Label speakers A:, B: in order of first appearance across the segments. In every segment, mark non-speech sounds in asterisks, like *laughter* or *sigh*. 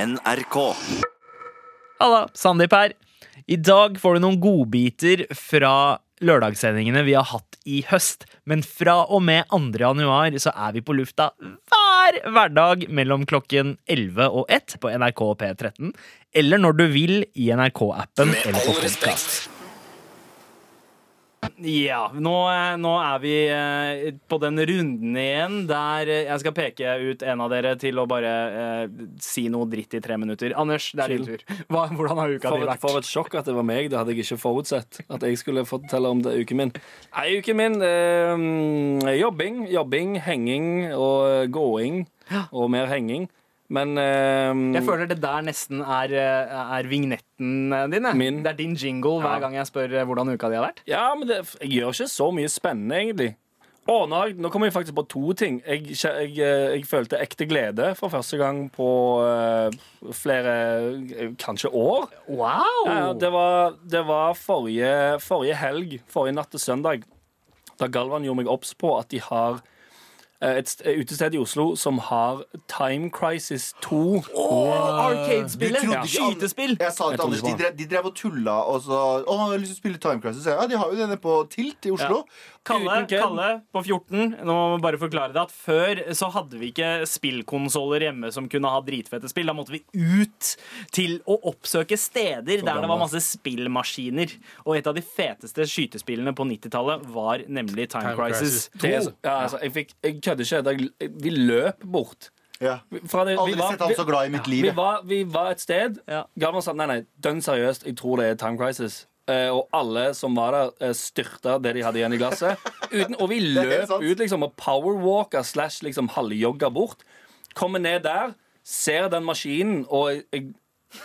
A: NRK.
B: Halla, Sandeep her. I dag får du noen godbiter fra lørdagssendingene vi har hatt i høst. Men fra og med 2. januar så er vi på lufta hver hverdag mellom klokken 11 og 1 på NRK P13. Eller når du vil i NRK-appen eller på podcast. Ja, nå, eh, nå er vi eh, på den runden igjen der eh, jeg skal peke ut en av dere til å bare eh, si noe dritt i tre minutter. Anders, det er din tur. Hva, hvordan har uka
C: For
B: di
C: et,
B: vært?
C: for et sjokk at det var meg. Det hadde jeg ikke forutsett. At jeg skulle fortelle om det uken min. Nei, uken min eh, Jobbing, jobbing, henging og eh, gåing. Og mer henging. Men eh,
B: Jeg føler det der nesten er, eh, er vignetten eh, din. jeg.
C: Min.
B: Det er din jingle hver
C: Ja.
B: gang jeg spør eh, hvordan uka di har vært.
C: Ja, men det, jeg gjør ikke så mye spennende, egentlig. Å, nå, har jeg- nå kom jeg faktisk på to ting. Jeg, kje- jeg, eh, jeg følte ekte glede for første gang på eh, flere eh, Kanskje år.
B: Wow!
C: Ja, ja, det var, det var forrige, forrige helg, forrige natt til søndag, da Galvan gjorde meg obs på at de har eh, et st- utested i Oslo som har Time Crisis 2.
A: Du
B: Arcade-spillet!
A: trodde ikke an-
B: Skytespill!
A: Jeg sa
C: Jeg
A: til Anders, de
C: trodde
A: drev, de drev og tulla og så Å, jeg har lyst til å spille Time Crisis. Ja, de har jo denne på Tilt i Oslo.
B: Kalle,
C: Uten kødd.
B: Kalle på 14, nå må jeg bare forklare det at før så hadde vi ikke spillkonsoller hjemme som kunne ha dritfette spill. Da måtte vi ut til å oppsøke steder der det var masse spillmaskiner. Og et av de feteste skytespillene på 90-tallet var nemlig Time,
D: Time
B: Crisis.
D: Crisis.
C: Det er så- Ja, altså, jeg fikk, jeg kødder ikke. da jeg- Vi løp bort.
A: Ja.
C: Fra det,
A: Aldri sett han så glad i mitt liv.
C: Vi var, vi var et sted.
B: Ja.
C: Galvan sa nei, nei, dønn seriøst, jeg tror det er Time Crisis. Eh, og alle som var der, eh, styrta det de hadde igjen i
A: *laughs*
C: glasset. Uten, og vi
A: er
C: løp
A: helt sant.
C: ut liksom, og powerwalka slash liksom, halvjogga bort. Kommer ned der, ser den maskinen, og jeg,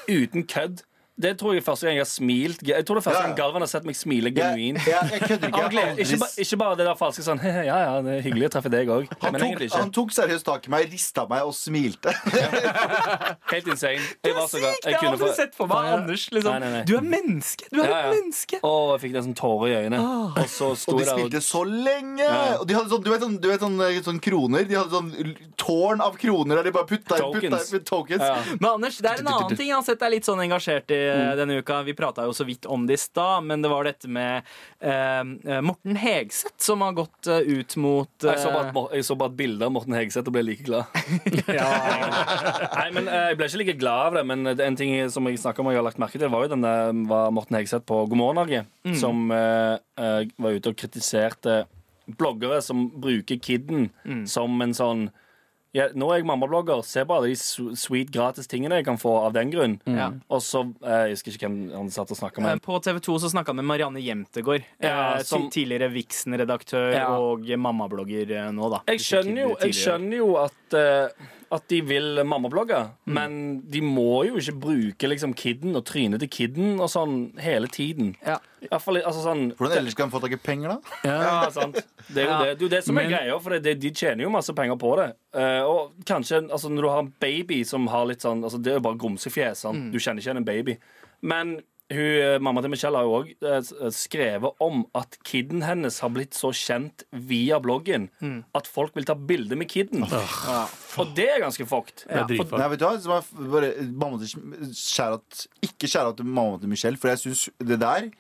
C: uten kødd Det tror jeg er første gang jeg har smilt. Jeg tror det er første
A: Ja, ja.
C: gang Galvan har sett meg smile
A: Jeg,
C: genuint.
A: jeg, jeg kødder
C: Av
A: ikke. Jeg har
C: glede. Ikke,
A: aldri
C: ba, ikke bare det der falske sånn *laughs* Ja, ja, det er hyggelig å treffe deg òg.
A: Han
C: Men
A: tok,
C: egentlig ikke.
A: han tok seriøst tak i meg, rista meg og smilte. *laughs*
C: Helt insane. Jeg var så glad.
B: Sykt! Jeg har
C: kunne
B: aldri
C: få-
B: sett for meg
C: Ja.
B: Anders. Liksom.
C: Nei, nei, nei.
B: Du er menneske! Du er
C: Ja, ja.
B: et menneske!
C: Å, jeg fikk nesten tårer i øynene. Og så sto
A: Ah. Og
C: jeg
A: de
C: der og
A: spilte så lenge!
C: ja.
A: Og de hadde sånn, du vet, sånn, du vet sånn, eh, sånn kroner? De hadde sånn l- tårn av kroner der de bare putta inn- putta
C: Tokens.
A: inn tokens.
C: Ja.
B: Men Anders, det er en annen ting jeg har sett deg litt sånn engasjert i eh, denne uka. Vi prata jo så vidt om det i stad, men det var dette med eh, Morten Hegseth som har gått eh, ut mot
C: jeg så, bare,
B: eh,
C: et mor- jeg så bare et bilde av Morten Hegseth og ble like glad. *laughs*
B: *laughs*
C: Nei, men eh, Jeg ble ikke like glad av det, men det er en ting som jeg snakket om og jeg har lagt merke til, var jo den der mm, var Morten Hegseth på God morgen Norge, som eh, eh, var ute og kritiserte bloggere som bruker Kidden som en sånn ja, Nå er jeg mammablogger, se på alle de su- sweet gratis tingene jeg kan få av den grunn. Og så eh, Jeg husker ikke hvem han satt og snakka med.
B: eh, på TV 2 så snakka han med Marianne Jemtegård.
C: Ja,
B: eh, ti-
C: som-
B: Tidligere Vixen-redaktør
C: Ja.
B: og mammablogger eh, nå, da.
C: Jeg skjønner jo, jeg skjønner jo at, eh, at de vil mammablogge, men de må jo ikke bruke liksom kidden og trynet til kidden og sånn hele tiden.
B: Ja.
C: I hvert fall altså sånn
A: Hvordan ellers skal han få tak i penger, da?
C: Ja, sant. Det er jo
B: Ja.
C: det. Det, er jo det som er
D: Men-
C: greia, for det, det, de tjener jo masse penger på det. Eh, og kanskje altså, når du har en baby som har litt sånn altså, Det er jo bare grumsefjes. sant? Du kjenner ikke igjen en baby. Men hun, eh, mamma til Michelle har jo òg eh, skrevet om at kiden hennes har blitt så kjent via bloggen at folk vil ta bilde med kiden. Ja. Og det er ganske fucked.
D: Det er dritfart.
A: Nei, vet du hva? Som er f- bare, eh, mamma til, skjærat, ikke skjærat til mamma til Michelle, for jeg syns det der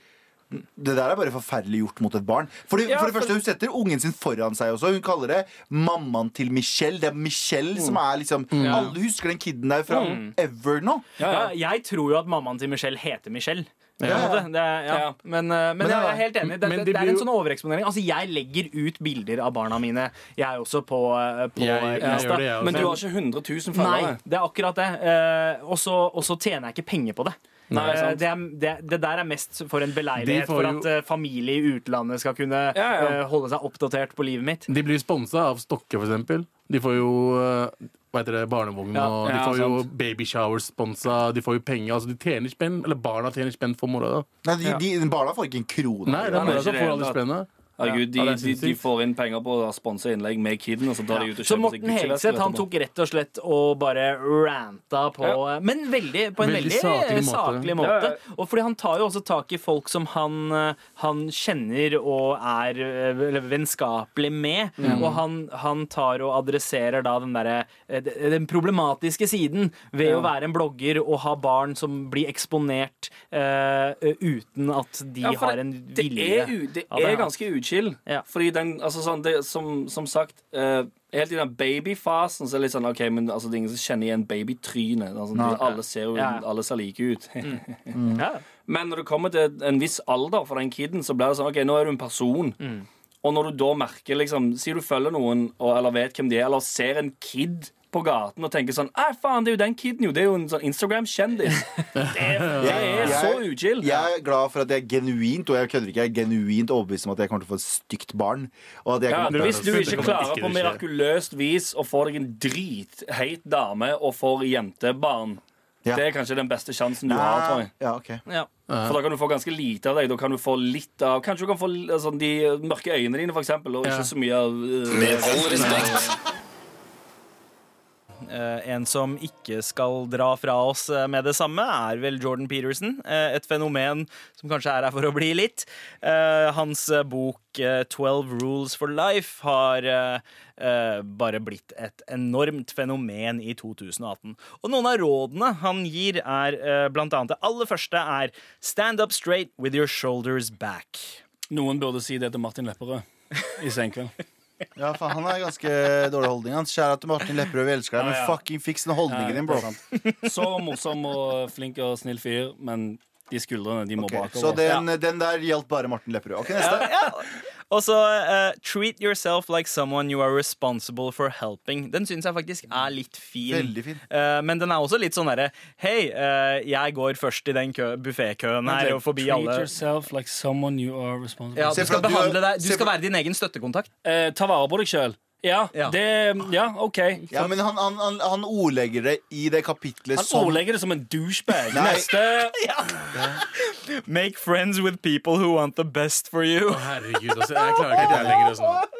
A: det der er bare forferdelig gjort mot et barn. Fordi,
C: Ja,
A: for det
C: for-
A: første, Hun setter ungen sin foran seg også. Hun kaller det mammaen til Michelle. Det er Michelle som
C: Mm.
A: er liksom Alle husker den kiden der fra ever nå.
B: Ja, jeg tror jo at mammaen til Michelle heter Michelle. på en
A: Ja.
B: måte. Det, er- ja.
C: Ja.
B: Men, eh, men
A: det
B: jeg
A: er-
B: er helt enig. Det,
D: men
B: det,
D: de
B: det er
D: blir
B: en
D: jo-
B: sånn overeksponering. Altså, Jeg legger ut bilder av barna mine. Jeg er også på, eh, på
D: Jeg- jeg
B: Insta.
D: gjør det, jeg også.
C: Men du har ikke 100 000
B: Nei,
C: følgere.
B: det er akkurat det. Eh, og så og så tjener jeg ikke penger på det.
C: Nei,
B: Eh,
C: sant.
B: det, er, det, det der er mest for en
D: De
B: beleilighet
D: får
B: for
D: jo-
B: at eh, familie i utlandet skal kunne
C: ja.
B: eh, holde seg oppdatert på livet mitt.
D: De blir sponsa av Stokke, for eksempel. De får jo eh, hva heter det, barnevogn,
B: Ja,
D: og de
C: ja,
D: får jo
C: sant.
D: babyshower-sponsa, de får jo penger. Altså, de tjener spenn, eller barna tjener spenn for mora. da.
A: Nei, de, de, Barna får ikke en krone.
D: Nei, det
C: nei,
D: er mora
C: ikke altså, det
D: som får
C: hele
D: alle
C: tatt.
D: spennet.
C: Herregud, de,
D: Ja, det er
C: de, de
D: sinnssykt.
C: får inn penger på å sponse innlegg med Kidden, og så drar de
B: Så
C: ut og kjøper seg
B: Morten Hegseth han tok rett og slett og bare ranta på Men veldig, på en veldig,
D: Veldig saklig måte.
B: saklig måte.
C: Ja,
B: Og fordi han tar jo også tak i folk som han, eh, han kjenner og er eh, eller vennskapelig med. Og han, han tar og adresserer da den derre eh, de- den problematiske siden ved å være en blogger og ha barn som blir eksponert eh, uten at de
C: Ja, for
B: har en
C: det
B: vilje.
C: Er, u- det
B: av det
C: er
B: her.
C: ganske uchill.
B: Ja.
C: Fordi den, altså sånn, det, som, som sagt eh, Helt i den babyfasen så er det litt sånn OK, men altså, det er ingen som kjenner igjen babytrynet. Altså, de- alle ser jo
B: Ja, Mm. ja.
C: Alle ser like ut. *laughs*
B: Ja.
C: Men når du kommer til en viss alder for den kiden, så blir det sånn OK, nå er du en person.
B: Mm.
C: Og når du da merker liksom Si du følger noen og, eller vet hvem de er, eller ser en kid på gaten og tenker sånn Æ, faen, det er jo den kiden, jo. Det er jo en
B: *laughs*
C: sånn Instagram-kjendis. Det er så uchill.
A: Jeg er glad for at jeg er genuint og jeg kødder ikke, jeg er genuint overbevist om at jeg kommer til å få et stygt barn. Og at jeg
C: Ja,
A: kommer til å-
C: hvis du
D: Det
C: ikke
D: kommer
C: klarer
D: ikke
C: på
D: til å skje.
C: mirakuløst vis å få deg en dritheit dame og får jentebarn,
A: Ja.
C: det er kanskje den beste sjansen du har, tror
A: Nei,
C: jeg.
A: Ah, ja, ok.
B: Ja.
C: For da kan du få ganske lite av deg. Da kan du få litt av Kanskje du kan få eh, sånn, de mørke øynene dine, for eksempel, og
D: Ja.
C: ikke så mye av eh,
E: Med all respekt.
B: Eh, En som ikke skal dra fra oss eh, med det samme, er vel Jordan Peterson. Eh, Et fenomen som kanskje er her for å bli litt. Eh, Hans eh, bok eh, 12 Rules for Life har eh, eh, bare blitt et enormt fenomen i 2018. Og noen av rådene han gir, er eh, blant annet det aller første er Stand up straight with your shoulders back.
C: Noen burde si det til Martin Lepperød i
D: *laughs*
C: senkveld.
A: Ja, faen, han har ganske dårlig holdning. Han Kjære til Martin Lepperød, vi elsker deg, men fucking fiks den holdningen din, bro.
C: Så morsom og flink og snill fyr, men de skuldrene de må
A: Ok,
C: bakover.
A: så den, den der gjaldt bare Martin Lepperød. Ok, neste.
B: Og så eh, Treat yourself like someone you are responsible for helping. Den syns jeg faktisk er litt Mm. fin.
A: Veldig fin.
B: Eh, men den er også litt sånn derre Hei, eh, jeg går først i den kø- buffékøen her og forbi alle.
C: yourself like someone you are responsible
B: Ja, du
A: Se for
B: skal
A: at du er-
B: behandle deg Du
A: se
B: skal
A: for-
B: være din egen støttekontakt.
C: Eh, ta vare på deg sjøl. Ja,
B: Ja.
C: det Ja, OK.
A: Ja, men han, han, han, han ordlegger det i det kapitlet
C: Han
A: som
C: ordlegger det som en douchebag.
A: Nei.
C: Neste
B: Make friends with people who want the best for *laughs* you.
D: Herregud, altså, jeg klarer ikke det lenger. Sånn.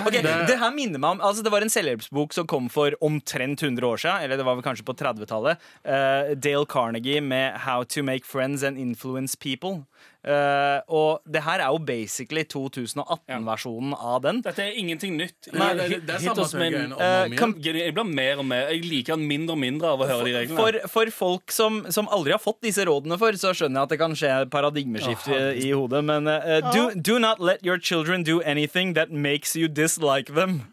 B: Ok, Det her minner meg om Altså det var en selvhjelpsbok som kom for omtrent 100 år siden. Eller det var vel kanskje på 30-tallet. eh, Dale Carnegie med 'How to make friends and influence people'. Eh, og det her er jo basically 2018-versjonen av den.
C: Dette er ingenting nytt.
D: Nei, det, det er
C: Hit
D: samme
C: oss med en-
D: greiene om og om
B: eh,
D: igjen.
C: Geni- Jeg blir mer og mer Jeg liker han mindre og mindre av å høre de reglene.
B: For, for folk som, som aldri har fått disse rådene for, så skjønner jeg at det kan skje paradigmeskifte i hodet, men eh, do, do not let your children do anything that makes you dislike them.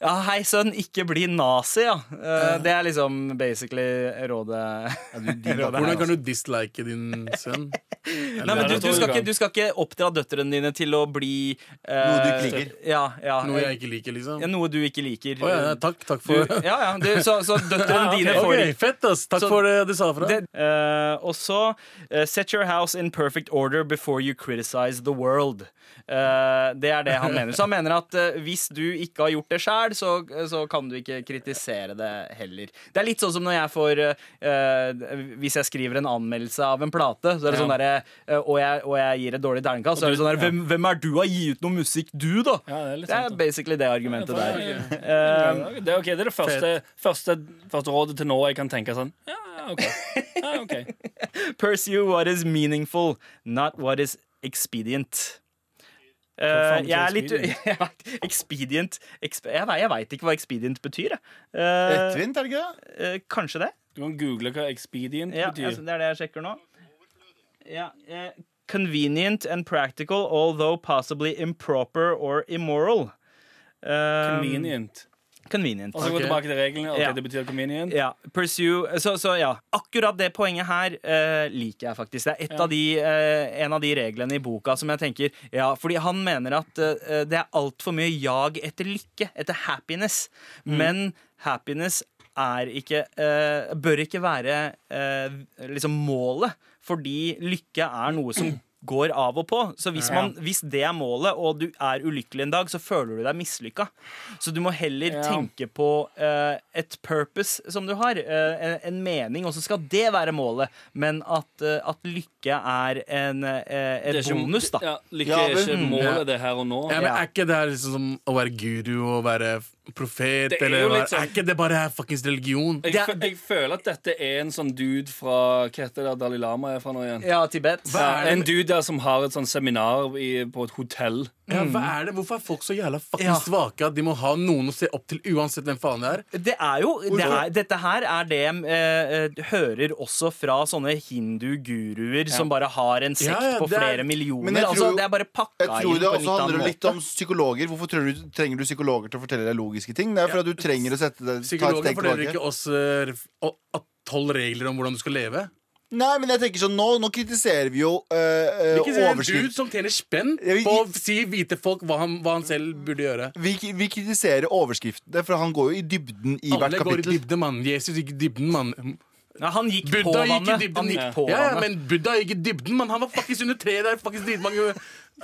B: Ja, hei sønn, ikke bli nazi, ja. Eh, det er liksom basically *laughs* rådet.
D: Hvordan kan du dislike din sønn?
B: Nei, men du,
C: det
B: du,
C: tror
B: skal
C: jeg
B: ikke,
C: kan.
B: du skal ikke oppdra døtrene dine til å bli eh,
A: Noe du ikke liker.
B: Ja, ja,
D: Noe jeg ikke liker, liksom?
B: ja, noe du ikke liker.
D: Å ja, takk, takk
B: du,
D: for
B: ja, ja, du, så, så
D: *laughs*
B: døtrene dine får
D: Ok, Fett, ass. Takk
B: Så-
D: for det du sa fra.
B: Det, eh, og så eh, Set your house in perfect order before you criticize the world. Eh, det er det han mener. Så han mener at eh, hvis du ikke har gjort det sjæl, så, så kan du ikke kritisere det heller. Det er litt sånn som når jeg får eh, eh, Hvis jeg skriver en anmeldelse av en plate, så er det sånn derre eh, og, jeg- og jeg gir et dårlig terningkast, så er det sånn derre hvem, hvem er du å gi ut noe musikk, du, da?
C: Ja, det er litt
B: det
C: sant,
B: er basically det argumentet der.
C: Ja, det, er ok, det er det første, første, første rådet til nå jeg kan tenke sånn. Ja, ja, OK. Ja, ok.
B: Pursue what is meaningful, not what is expedient. Eh,
C: faen betyr
B: jeg er litt *laughs* jeg vet- Expedient exp, Jeg, vet- jeg veit ikke hva expedient betyr. Jeg. Eh,
A: Lettvint, er det ikke det?
B: eh, kanskje det.
C: Du kan google hva expedient
B: Ja,
C: betyr.
B: altså, det er det jeg sjekker nå. Ja, eh, convenient and practical, although possibly improper or immoral. Eh,
C: Convenient.
B: convenient.
C: Og så gå
D: Ok.
C: tilbake til reglene. Ok,
B: Ja.
C: Det betyr convenient.
B: Ja, pursue så, så ja, akkurat det poenget her eh, liker jeg faktisk. Det er et av de, eh, en av de reglene i boka som jeg tenker Ja, fordi han mener at eh, det er altfor mye jag etter lykke, etter happiness. Men happiness er ikke eh, Bør ikke være eh, liksom målet, fordi lykke er noe som går av og på. Så hvis, man, hvis det er målet, og du er ulykkelig en dag, så føler du deg mislykka. Så du må heller
C: Ja.
B: tenke på eh, et purpose som du har, eh, en, en mening, og så skal det være målet. Men at, eh, at lykke er en, eh,
C: Det
B: en
C: er ikke-
B: bonus, da.
C: Ja, lykke
A: Ja,
C: er ikke
A: men-
C: målet, det er her og nå.
D: Ja, men Er ikke det her liksom som å være guru og være profet?
C: Det er
D: eller,
C: jo
D: hva-
C: litt sånn-
D: er ikke det bare her fuckings religion?
C: Jeg, fø- jeg føler at dette er en sånn dude fra Hva heter det Dalai Lama er fra nå igjen?
B: Ja, Tibet.
D: Hva er det
C: en
D: med-
C: dude der som har et sånn seminar i, på et hotell.
D: Ja, hva er det? Hvorfor er folk så jævla fucking
B: Ja.
D: svake at de må ha noen å se opp til uansett hvem faen det er?
B: Det er jo, det er, dette her er det jeg eh, eh, hører også fra sånne hindu-guruer som bare har en sekt
D: Ja, ja,
B: på
D: det er-
B: flere
A: Men
B: millioner.
A: jeg
B: altså,
A: tror-
B: det er bare pakka
A: Jeg tror
B: inn
A: det
B: på
A: også
B: litt av
A: handler
B: en
A: litt
B: måte.
A: om psykologer. Hvorfor tror du, trenger du psykologer til å fortelle deg logiske ting? Det er for at du trenger å sette deg ta et
D: Psykologen
A: steg
D: forteller
A: tilbake.
D: ikke oss eh, ref- å- at tolv regler om hvordan du skal leve.
A: Nei, men jeg tenker sånn, Nå, nå kritiserer vi jo øh,
D: Ikke se en dude
A: overskrift.
D: som tjener spenn
A: Jeg vil-
D: på å si hvite folk hva han, hva han selv burde gjøre.
A: Vi, vi kritiserer overskriftene, for han går jo i dybden i hvert
D: Alle går i
A: kapittel.
D: dybden, mann. Jesus gikk i dybden, mann.
B: Ja, han gikk
D: Buddha
B: på
D: gikk i
B: vannet.
D: dybden.
B: Han gikk på
D: Ja, ja,
B: vannet.
D: men Buddha gikk i dybden, mann. Han var faktisk under treet der faktisk dritmange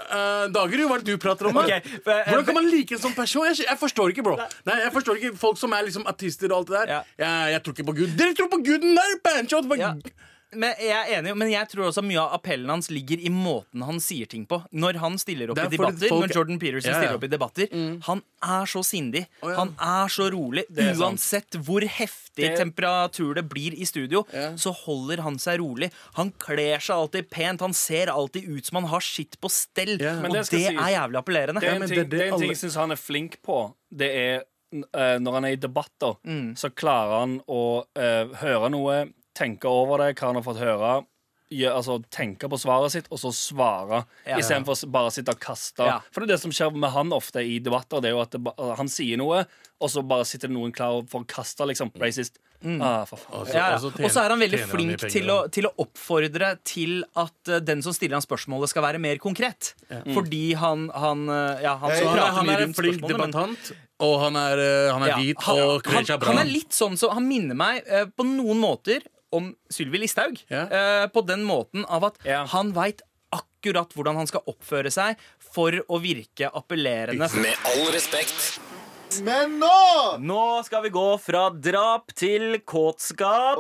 D: eh, dager, jo. Hva er det du prater om? mann?
B: Ok, for, eh,
D: Hvordan kan man like en sånn person? Jeg, skj- jeg forstår ikke, bro. Nei, jeg forstår ikke Folk som er liksom artister og alt det der.
B: Ja.
D: Jeg, jeg tror ikke på Gud. Dere tror på Guden der! Banshot! Hva-
B: Ja. Men jeg er enig, men jeg tror også mye av appellen hans ligger i måten han sier ting på. Når han stiller opp
D: Det er
B: i
D: fordi
B: debatter,
D: folk-
B: når Jordan Peterson
D: Ja, ja.
B: stiller opp i debatter Han er så sindig.
D: ja.
B: Han er så rolig.
C: er sant.
B: Uansett hvor heftig
C: Det-
B: temperatur det blir i studio, så holder han seg rolig. Han kler seg alltid pent. Han ser alltid ut som han har skitt på stell.
D: Ja.
B: Og
D: Men
B: det,
C: det skal sies.
B: er jævlig appellerende.
C: Det er en
D: men
C: ting,
D: det er det
C: det er en ting
D: alle-
C: jeg syns han er flink på. Det er eh, når han er i debatter,
D: Mm.
C: så klarer han å eh, høre noe, tenke over det, hva han har fått høre. gjø- altså, tenke på svaret sitt, og så svare.
B: Ja.
C: Istedenfor s- bare å sitte og kaste.
B: Ja.
C: For det er det som skjer med han ofte i debatter. Det er jo at det, ba- han sier noe, og så bare sitter det noen klar for å kaste. Liksom,
D: Mm.
C: racist. Ah, for faen.
D: Altså,
B: Ja, ja.
D: altså, tjener-
B: Og så er han veldig
D: tjener mye
B: flink
D: penger,
B: til å,
D: da.
B: til å oppfordre til at eh, den som stiller han spørsmålet, skal være mer konkret. Fordi han, han eh, Ja, han
A: Ja,
B: som
A: ja,
D: han, er,
B: prater
D: han
B: mye
D: er en
B: rundt
D: flink
B: spørsmålene, men-
D: debattant, og han er, eh, han er
B: Ja,
D: hvit
B: han,
D: og kler
B: han,
D: seg bra.
B: han er litt sånn så Han minner meg eh, på noen måter om Sylvi Listhaug.
D: Ja.
B: eh, på den måten av at
C: Ja.
B: han veit akkurat hvordan han skal oppføre seg for å virke appellerende.
E: Med all respekt.
A: Men nå!
B: Nå skal vi gå fra drap til kåtskap.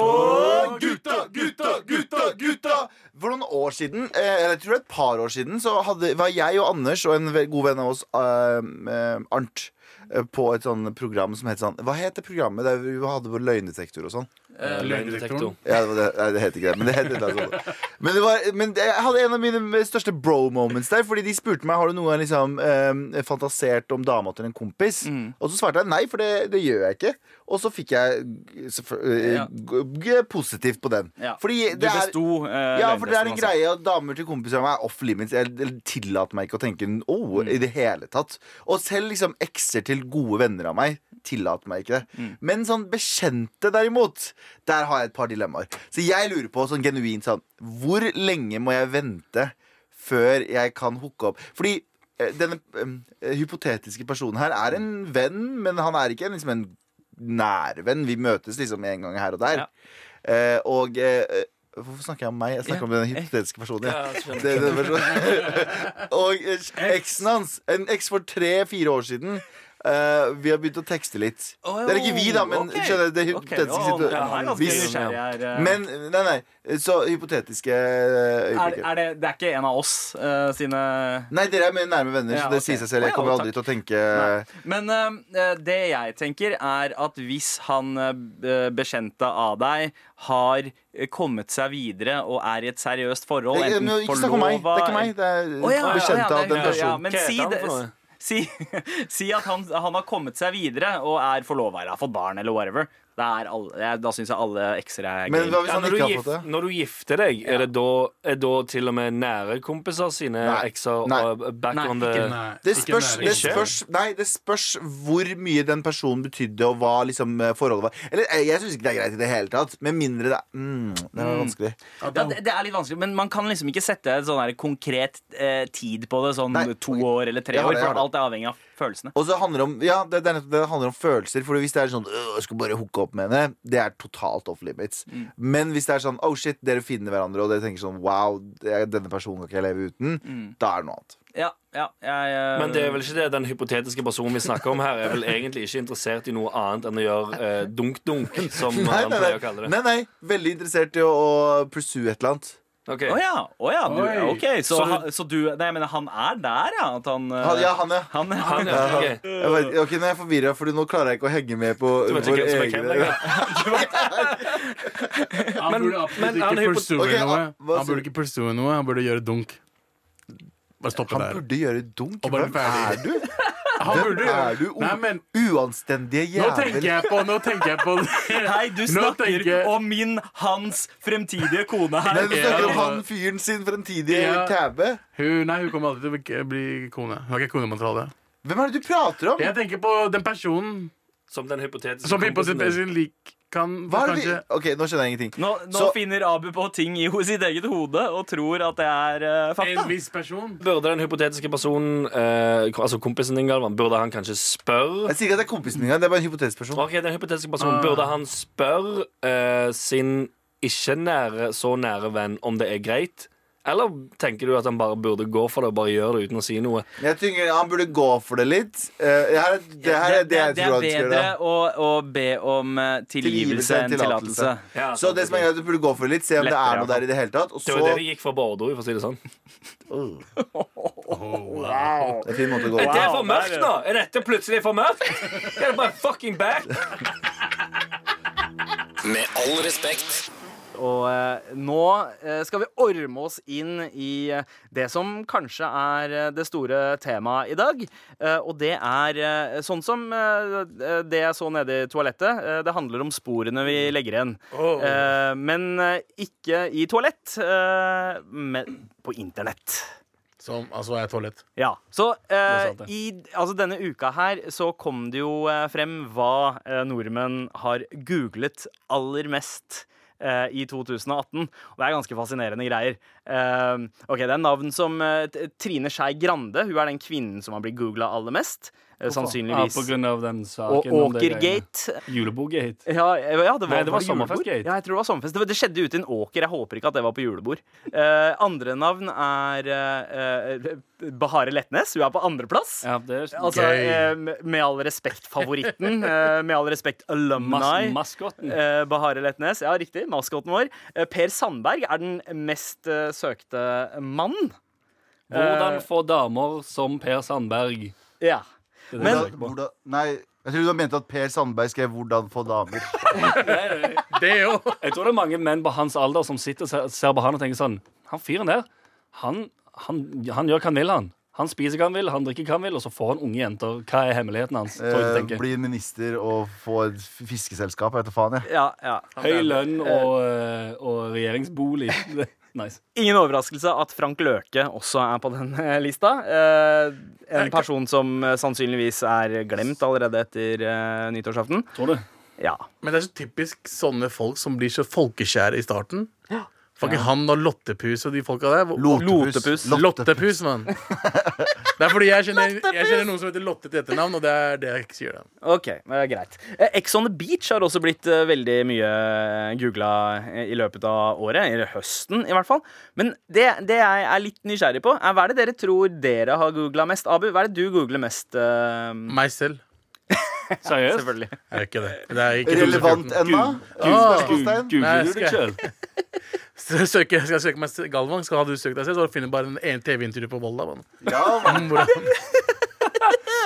A: Og gutta, gutta, gutta, gutta! For noen år siden, eh, eller jeg tror det er et par år siden, så hadde, var jeg og Anders og en ve- god venn av oss, eh, eh, Arnt, eh, på et sånn program som het sånn Hva het det programmet der vi hadde vår løgndetektor og sånn?
D: Eh, Løgndetektoren.
A: Ja, det, var det, nei, det heter ikke det, men det heter det. Altså. Men, det var, men det- jeg hadde en av mine største bro moments der, fordi de spurte meg Har du noen gang liksom, eh, fantasert om dama til en kompis.
B: Mm.
A: Og så svarte jeg nei, for det, det gjør jeg ikke. Og så fikk jeg eh, selvfø- eh,
B: Ja.
A: g- g- positivt på den.
B: Ja.
A: Fordi det
B: Du
A: er
B: besto. eh,
A: ja, for det er en
B: løgntesten, altså.
A: greie at damer til kompiser av meg er off limits. Jeg jeg tillater meg ikke å tenke oh,
B: Mm.
A: i det hele tatt. Og selv liksom ekser til gode venner av meg tillater meg ikke det.
B: Mm.
A: Men sånn bekjente, derimot, der har jeg et par dilemmaer. Så jeg lurer på sånn genuint sånn Hvor lenge må jeg vente før jeg kan hooke opp? Fordi eh, denne eh, hypotetiske personen her er en venn, men han er ikke en, liksom en nærvenn. Vi møtes liksom en gang her og der.
B: Ja.
A: Eh, og eh, Hvorfor snakker jeg om meg? Jeg snakker om den hypotetiske personen. Ja.
C: skjønner.
A: Det, det,
B: *laughs*
A: personen. og eh, eksen hans. En eks for tre-fire år siden. Eh, vi har begynt å tekste litt. det er ikke vi, da, men
B: ok.
A: skjønner, det er
B: Ok,
A: hypotetiske
B: å,
A: situ-
B: ja, han er ganske
A: Hvis-
B: nysgjerrig her, eh.
A: Men Nei, nei. Så hypotetiske eh,
B: er,
A: øyeblikker.
B: er det, det er ikke en av oss eh, sine
A: Nei, dere er mer nærme venner,
B: Ja,
A: så det
B: ok.
A: sier seg selv.
B: Å,
A: Jeg
B: ja,
A: kommer
B: takk.
A: aldri til å tenke
B: Men eh, det jeg tenker, er at hvis han eh, bekjente av deg har eh, kommet seg videre og er i et seriøst forhold,
A: Jeg- jeg-
B: enten
A: eh, men Ikke snakk om
B: forlova
A: meg. Det er ikke meg. Det er
B: Å, ja,
A: bekjente
B: ja, ja,
A: av den
B: det- ja,
A: personen.
B: men
C: Hva
B: si,
C: heter han
B: det,
C: for noe?
B: si, *laughs* si at han, han har kommet seg videre og er forlova eller har fått barn eller whatever. Da, er alle, jeg- da syns jeg alle ekser er gøy.
A: Men hva hvis
C: Ja,
A: han
C: når, du
A: ikke har
C: gif,
A: fått det?
C: når du gifter deg, er det da, er da til og med nære kompiser sine
A: Nei.
C: ekser
A: Nei.
C: og back
B: Nei,
C: on the
B: ikke
D: Nei,
A: Det
D: ikke
A: spørs,
D: nære.
A: det, spørs, nei, det spørs hvor mye den personen betydde, og hva liksom eh, forholdet var. Eller eh, Jeg syns ikke det er greit i det hele tatt, med mindre det er mm, Det er vanskelig.
D: At
B: Ja,
D: han-
B: det, det er litt vanskelig, men man kan liksom ikke sette en sånn her konkret eh, tid på det. Sånn
A: Nei,
B: to
A: ok.
B: år eller tre
A: Jeg har
B: år.
A: det, jeg
B: For
A: har
B: alt er avhengig av
F: Følelsene.
A: Og så handler det om, ja, det, det, er nettopp det, det handler om følelser. Fordi hvis det er sånn «Øh, 'Jeg skal bare hooke opp med henne', det er totalt off limits. Men hvis det er sånn 'Oh shit, dere finner hverandre', og dere tenker sånn 'Wow, det- denne personen kan ikke jeg leve uten', da er det noe annet.
F: Ja, ja, jeg, eh,
C: Men det er vel ikke det den hypotetiske personen vi snakker om her, er vel egentlig ikke interessert i noe annet enn å gjøre eh, dunk-dunk, som
A: Nei
C: han
A: nei
C: pleier å
A: nei.
C: kalle det.
A: nei, nei. Veldig interessert i å, å pursue et eller annet.
C: Ok.
F: Å ja, å ja, du,
D: Oi.
F: ok. Så,
C: Så du-
F: han- så du Nei, men han er der, ja? At han eh,
A: Han, ja, han, ja.
F: han,
C: Han, ja,
A: *laughs*
C: ok.
A: Jeg vet, ok, nå er jeg forvirra, for nå klarer jeg ikke å henge med på
C: Du vet ikke hvem
A: våre
C: som er hvem
A: egne
C: lenger.
D: Han
C: Men-
D: burde absolutt
C: men han er
D: ikke
C: hypo-
D: pursue
A: Ok,
D: noe.
A: ah, hva
D: Han
A: sier
D: burde ikke pursue noe, han burde gjøre dunk. Bare stoppe
A: Han
D: der.
A: burde gjøre dunk.
D: Og bare
A: Hvem er du?
D: Han
A: Hvem
D: burde
A: er
D: gjøre
A: du?
D: Nei, men
A: Uanstendige
D: nå tenker
A: jævel.
D: jeg på Nå tenker jeg *laughs* på
F: *laughs* Hei, du
D: Nå
F: snakker
D: tenker jeg-
F: om min, hans, fremtidige kone her.
A: *laughs* Nei, du snakker om
D: Ja.
A: han fyren sin fremtidige
D: Ja.
A: tæbe.
D: hun, Nei, hun kommer aldri til å ikke bli kone. Hun er ikke konemateriale.
A: Hvem er det du prater om?
D: Jeg tenker på den personen
C: Som den hypotetiske
D: som på
C: kompisen
D: sin
C: din.
D: sin lik kan
A: Hva er det vi
D: kanskje
A: Ok, nå skjønner jeg ingenting.
F: Nå, nå
A: Så-
F: finner Abu på ting i ho- sitt eget hode og tror at det er eh, fakta.
D: En viss person.
C: Burde den hypotetiske personen, eh, ko- altså kompisen din, Galvan, burde han kanskje spørre
A: Jeg sier ikke at det er kompisen min engang. Det er bare en hypotetisk person.
C: Ok, den hypotetiske personen, burde han spørre eh, sin ikke nære, så nære venn om det er greit? Eller tenker du at han bare burde gå for det og bare gjøre det uten å si noe?
A: Jeg tenker Han burde gå for det litt. Eh, det her er det, her er det jeg
F: det er
A: tror han skal
F: bedre
A: gjøre.
F: å, å be om eh, tilgivelse
A: Tilgivelse enn
F: enn tillatelse.
A: tillatelse.
C: sånn
A: Så det som er greit, du burde gå for det litt, se om det
F: Lettere,
A: er noe der i det hele tatt. Og
C: Det
A: så
C: var jo det de gikk fra Bordeaux, for å si det sånn.
A: Det er en fin måte å gå
C: Er det
A: på.
C: for mørkt nå? Er dette plutselig for mørkt? Er det bare fucking back?
E: Med all respekt.
B: Og eh, nå eh, skal vi orme oss inn i eh, det som kanskje er eh, det store temaet i dag. Eh, og det er eh, sånn som eh, det jeg så nede i toalettet. Eh, det handler om sporene vi legger igjen. Eh, men eh, ikke i toalett, eh, men på internett.
D: Som altså er toalett.
B: Ja, så eh,
D: sant, det.
B: i, altså denne uka her så kom det jo eh, frem hva eh, nordmenn har googlet aller mest eh, i 2018. Og det er ganske fascinerende greier. Eh, ok, Det er navn som eh, T- Trine Skei Grande. Hun er den kvinnen som har blitt googla aller mest. eh, sannsynligvis.
C: grunn av den
B: og Åkergate.
C: Julebordgate.
B: Ja, eh, ja, det var,
C: Nei, det var
B: julebord.
C: sommerfestgate.
B: Ja, jeg tror det var sommerfest. Det, var- det skjedde ute i en åker. Jeg håper ikke at det var på julebord. Eh, andre navn er eh, eh, Bahare Letnes. Hun er på andreplass.
C: Ja, det er
B: Altså, eh, med all respekt favoritten. eh, med all respekt alumni.
C: maskotten.
B: Eh, Bahare Letnes, ja riktig. Maskoten vår. Eh, per Sandberg er den mest eh, søkte mann. Eh,
C: Hvordan få damer som Per Sandberg?
B: Ja. Men
A: Hvordan- hvordan- Nei, jeg tror du mente at Per Sandberg skrev 'Hvordan få damer'.
D: Det er jo
C: Jeg tror det er mange menn på hans alder som sitter og ser- ser på han og tenker sånn Han fyren der, han, han, han gjør hva han vil, han. Han spiser hva han vil, han drikker hva han vil, og så får han unge jenter. Hva er hemmeligheten hans? Tror jeg de
A: Eh,
C: tenker.
A: bli minister og få et fiskeselskap. Jeg vet da faen, jeg.
B: ja, ja.
C: Høy lønn og, eh, og *laughs* regjeringsbolig. nice.
B: Ingen overraskelse at Frank Løke også er på den eh, lista. Eh, en person som eh, sannsynligvis er glemt allerede etter eh, nyttårsaften.
C: Tror du?
B: Ja.
D: Men det er så typisk sånne folk som blir så folkeskjære i starten. Fucking han og Lottepus og de folka der. Hvor-
A: Lotepus.
D: Lottepus, mann. Det er fordi jeg kjenner, jeg kjenner noen som heter Lotte til etternavn, og det er det jeg ikke sier. da.
B: Ok, eh, greit. Eh, Ex on the beach har også blitt eh, veldig mye googla i løpet av året. Eller høsten, i hvert fall. Men det, det jeg er litt nysgjerrig på, er hva er det dere tror dere har googla mest? Abu, hva er det du googler mest? eh,
D: Meg selv
C: Seriøst?
B: selvfølgelig.
D: er ikke det. det er ikke
A: Relevant
D: 2014.
A: ennå?
D: Ah.
A: Spørsmålstegn.
D: Nei,
C: Googler du deg
D: skal
C: sjøl?
D: Så jeg søker, skal jeg søke meg se- Galvan, skal hadde du søkt deg selv, så finner du bare en, en TV-intervju på Volda. mann. *laughs*
A: Ja,
D: Om hvordan-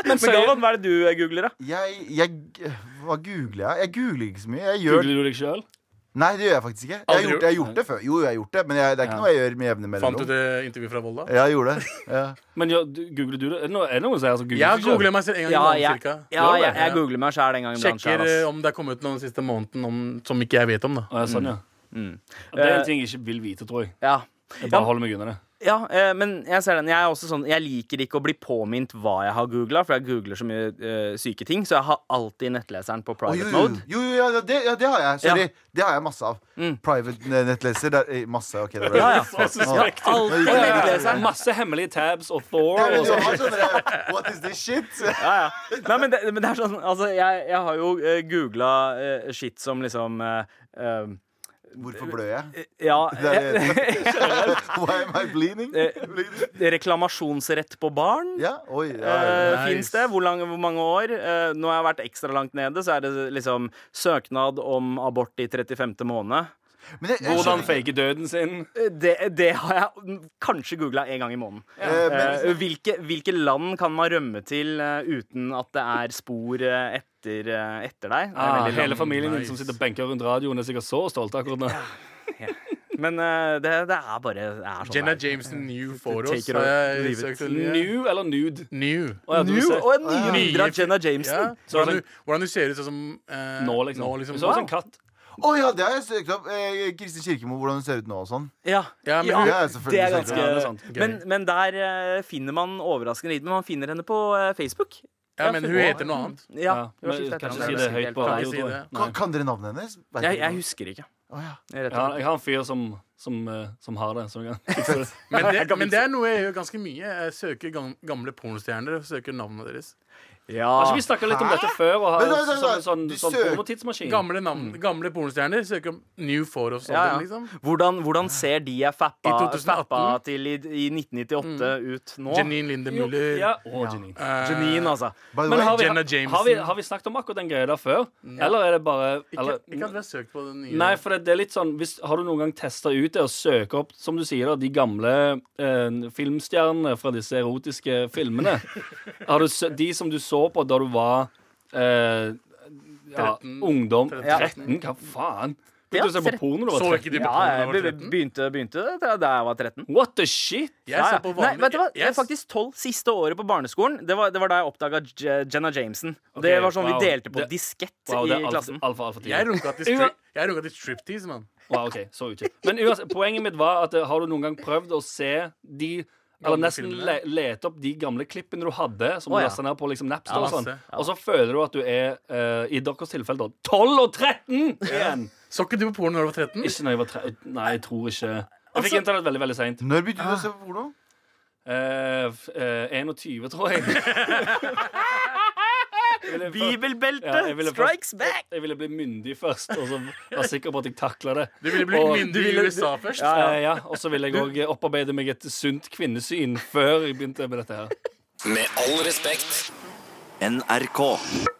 B: Men Galvan, hva er det du eh, googler, da?
A: jeg, jeg Hva googler jeg? Jeg googler ikke så mye. Jeg gjør
C: Googler du deg sjøl?
A: Nei, det gjør jeg faktisk ikke. Jeg har
D: Aldri
A: gjort,
D: gjort-
A: jeg har gjort det før. Jo, jeg har gjort det, men jeg, det er ikke noe jeg gjør med jevne
D: Fant du
A: mellomrom.
D: det intervjuet fra Volda?
A: Ja, jeg gjorde det. Ja.
C: Men ja, du- googler du det? Er det noe- er det noen som er som googler
D: Jeg
C: seg selv?
D: googler meg selv en gang i
B: Ja,
D: måneden
B: jeg,
D: cirka.
B: ja, jeg, jeg
D: Ja.
B: googler meg sjæl en gang iblant.
D: Sjekker
B: selv, ass.
D: eh, om det har kommet noe den siste måneden om, som ikke jeg vet om. da
C: Å, ja, sånn, ja. Det er en ting jeg ikke vil vite, tror jeg.
B: Ja.
C: Jeg bare holder meg unna det.
B: Ja, eh, men jeg ser den. Jeg er også sånn Jeg liker ikke å bli påminnet hva jeg har googla, for jeg googler så mye eh, syke ting, så jeg har alltid nettleseren på
A: Å,
B: private
A: jo, jo,
B: mode.
A: jo, jo, ja, det, ja, det har jeg. Sorry.
B: Ja.
A: Det har jeg masse av. Private nettleser. Der, eh, masse, ok. Det
B: Ja, ja.
A: Suspekt.
B: Alltid nettleseren.
C: Masse hemmelige tabs og Thor.
A: men
C: Og
A: du
C: sånn.
A: har sånn der, What is this shit?
B: Ja, ja. Nei, men det, men det er sånn Altså, jeg, jeg har jo uh, googla shit som liksom eh, eh,
A: Hvorfor blør jeg?
B: Ja,
A: Det er,
B: *laughs*
A: *laughs* why am I bleeding?
B: Eh,
A: Bleeding?
B: reklamasjonsrett på barn.
A: Ja, oi, ja, ja.
B: Uh,
D: Nice.
B: Fins det? Hvor, lang, hvor mange år? Eh, nå har jeg vært ekstra langt nede, så er det liksom søknad om abort i 35. måned.
A: Men jeg, jeg
C: Hvordan
A: skjønner ikke-
C: fake døden sin.
B: Eh, Det, det har jeg mm, kanskje googla en gang i måneden.
A: Eh, men-
B: Eh, hvilke, hvilke land kan man rømme til eh, uten at det er spor eh, etter, eh, etter deg? Det er
C: Ah,
B: veldig
C: hele
B: langt.
C: familien din som sitter benka rundt radioen, er sikkert så stolt akkurat nå.
B: Men eh, det, det er bare det er sånn
D: Jenna
B: det er.
D: Jameson new photos.
B: Take it
D: har jeg
B: or leave it.
D: søkt etter.
C: New eller nude?
D: New.
C: Å, ja, du
B: New,
C: ser-
B: og en nybilder
D: Nye
B: av Jenna
D: Ja.
B: Jameson.
D: Hvordan, du, hvordan du ser ut sånn som eh,
C: Nå, liksom.
D: Nå,
C: Du så ut som en
D: Wow.
C: katt.
A: Å ja, det har jeg søkt opp. Eh, Kristin Kirkemo, hvordan hun ser ut nå og sånn.
B: Ja.
D: Ja, men-
A: Det
B: Ah,
A: har jeg
B: Det er
A: selvfølgelig søkt
B: ganske
A: opp.
C: Ja, det er sant.
D: Gøy.
B: men, men der eh, finner man overraskende lite. Men man finner henne på eh, Facebook.
D: ja, men hun heter noe annet.
B: Ja,
C: Ja,
B: det var
C: men
B: skiftet
C: kan
B: etternavn.
C: ikke si det høyt på
D: Kan
C: radio.
D: ikke si
C: tror
D: det.
C: jeg. Nei.
A: Kan, kan dere navnet hennes? Vet
B: Jeg,
A: dere
B: jeg
A: noe?
B: husker ikke.
A: Å, ja.
B: Rett og
C: Ja,
B: slett.
C: jeg har en fyr som, som, eh, som har det. Så jeg kan fikse det.
D: Men det, men det er noe jeg gjør ganske mye. Jeg søker gam- gamle pornostjerner og søker navnene deres.
C: Har ikke vi snakka litt om dette før? Og har,
A: Men, nei, nei,
C: som
A: nei,
C: en sånn,
A: du
C: sånn
A: søker-
C: pornotidsmaskin?
D: Gamle, navn, gamle pornostjerner søker om new photos.
B: Mm.
D: og
B: Ja,
D: sånt,
B: ja.
D: Liksom.
B: Hvordan, hvordan ser de jeg
D: I
B: fappa,
D: 2018?
B: fappa til i, i 1998
C: Mm.
B: ut nå?
D: Janine Lindemüller.
C: Ja, å, Janine.
D: eh,
B: Janine, altså.
A: By the
C: Men
A: way,
C: har vi, har,
D: Jenna
C: vi,
D: Jameson.
C: har vi snakket om akkurat den greia der før? Eller er det bare
D: ikke,
C: eller,
D: ikke at vi har søkt på den nye.
C: Nei, for det, det er litt sånn hvis, Har du noen gang testa ut det og søker opp som du sier da, de gamle eh, filmstjernene fra disse erotiske filmene? har du, sø- de som du så på da du var eh, ja,
D: 13.
C: ungdom
D: 13.
C: 13? Hva faen?
B: Ja,
C: Begynte du å se på porno da du
D: så
C: var 13?
D: ikke de på
B: Ja,
D: porno
B: jeg
D: når du var
B: be-
D: 13?
B: begynte, begynte da da jeg var 13.
C: What the shit?
D: Jeg ser
B: Ja, ja.
D: på
B: Nei,
D: vanlig
B: vet du hva? Det
D: jeg,
B: er faktisk 12 siste året på barneskolen. Det var, det var da jeg oppdaga Jenna Jameson. Og det
C: Ok,
B: var sånn
C: wow.
B: vi delte på
C: Det-
B: diskett
C: Wow,
B: i
C: det er altfor,
B: klassen.
C: altfor, altfor tidlig.
D: jeg runka til,
C: Ua-
D: strip, jeg runka til striptease, mann.
C: Wow, ok, så ikke Men uansett, poenget mitt var at eh, har du noen gang prøvd å se de eller
D: Gamle
C: nesten le,
D: filmene?
C: lete opp de gamle klippene du hadde, som
B: Å,
C: du
B: ja.
C: lasta ned på liksom Napster.
D: Ja,
C: og sånn
D: masse.
C: Og så føler du at du er, eh, i deres tilfelle, da 12 og 13 igjen!
D: Så ikke du på porno når du var 13?
C: Ikke når jeg var tre... Nei, jeg tror ikke Jeg
D: Altså-
C: fikk internett veldig veldig seint.
A: Når begynte
B: Ah.
A: du å se på porno?
C: Eh, f- eh, 21, tror jeg. Jeg ville først-
B: Bibelbelte
C: Ja, jeg ville
B: strikes back!
C: Jeg ville bli myndig først, og så være sikker på at jeg takla det.
D: Du ville blitt
C: Og-
D: myndig i USA først.
C: Ja, Eh, ja, ja. Og så vil jeg òg opparbeide meg et sunt kvinnesyn før jeg begynte med dette her.
E: Med all respekt.
G: NRK.